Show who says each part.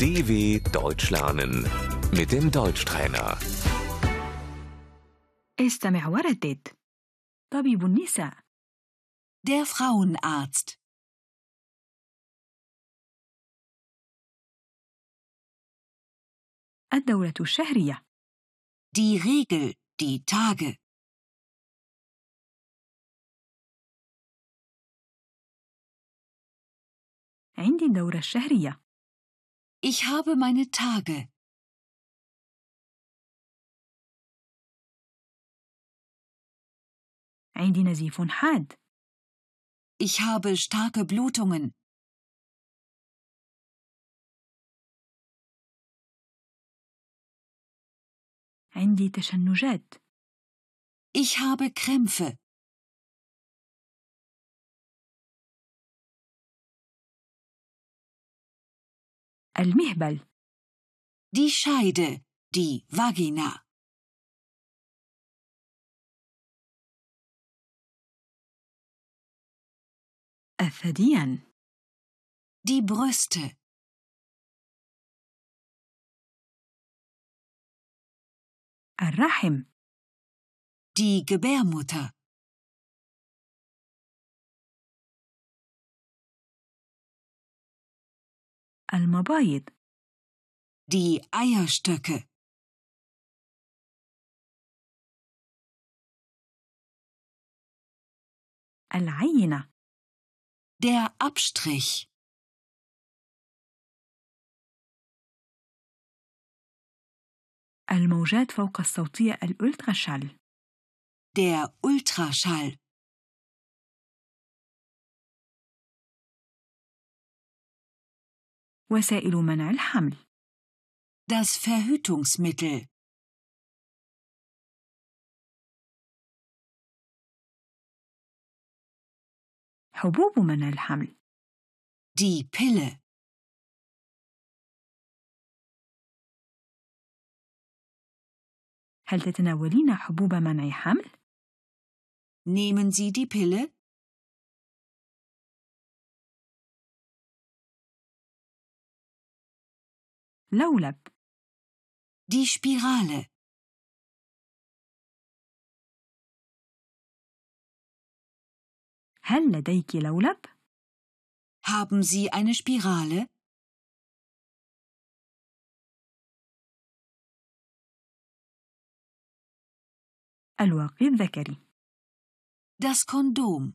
Speaker 1: DW Deutsch lernen mit dem Deutschtrainer.
Speaker 2: استمع وردد طبيب النساء
Speaker 3: Der Frauenarzt.
Speaker 2: الدورة الشهرية
Speaker 3: Die Regel. Die Tage.
Speaker 2: عندي الدورة الشهرية
Speaker 3: Ich habe meine Tage.
Speaker 2: عندي نزيف حاد
Speaker 3: Ich habe starke Blutungen.
Speaker 2: عندي تشنجات
Speaker 3: Ich habe Krämpfe.
Speaker 2: المهبل
Speaker 3: Die Scheide. Die Vagina.
Speaker 2: الثديان
Speaker 3: Die Brüste.
Speaker 2: الرحم
Speaker 3: Die Gebärmutter.
Speaker 2: المبايض
Speaker 3: Die Eierstöcke.
Speaker 2: العينة
Speaker 3: Der Abstrich.
Speaker 2: الموجات فوق الصوتية الألتراشال
Speaker 3: Der Ultraschall.
Speaker 2: وسائل منع الحمل
Speaker 3: Das Verhütungsmittel.
Speaker 2: حبوب منع الحمل
Speaker 3: Die Pille.
Speaker 2: هل تتناولين حبوب منع حمل؟
Speaker 3: Nehmen Sie die Pille?
Speaker 2: لولب
Speaker 3: Die Spirale.
Speaker 2: هل لديك لولب؟
Speaker 3: Haben Sie eine Spirale?
Speaker 2: الواقي الذكري
Speaker 3: Das Kondom.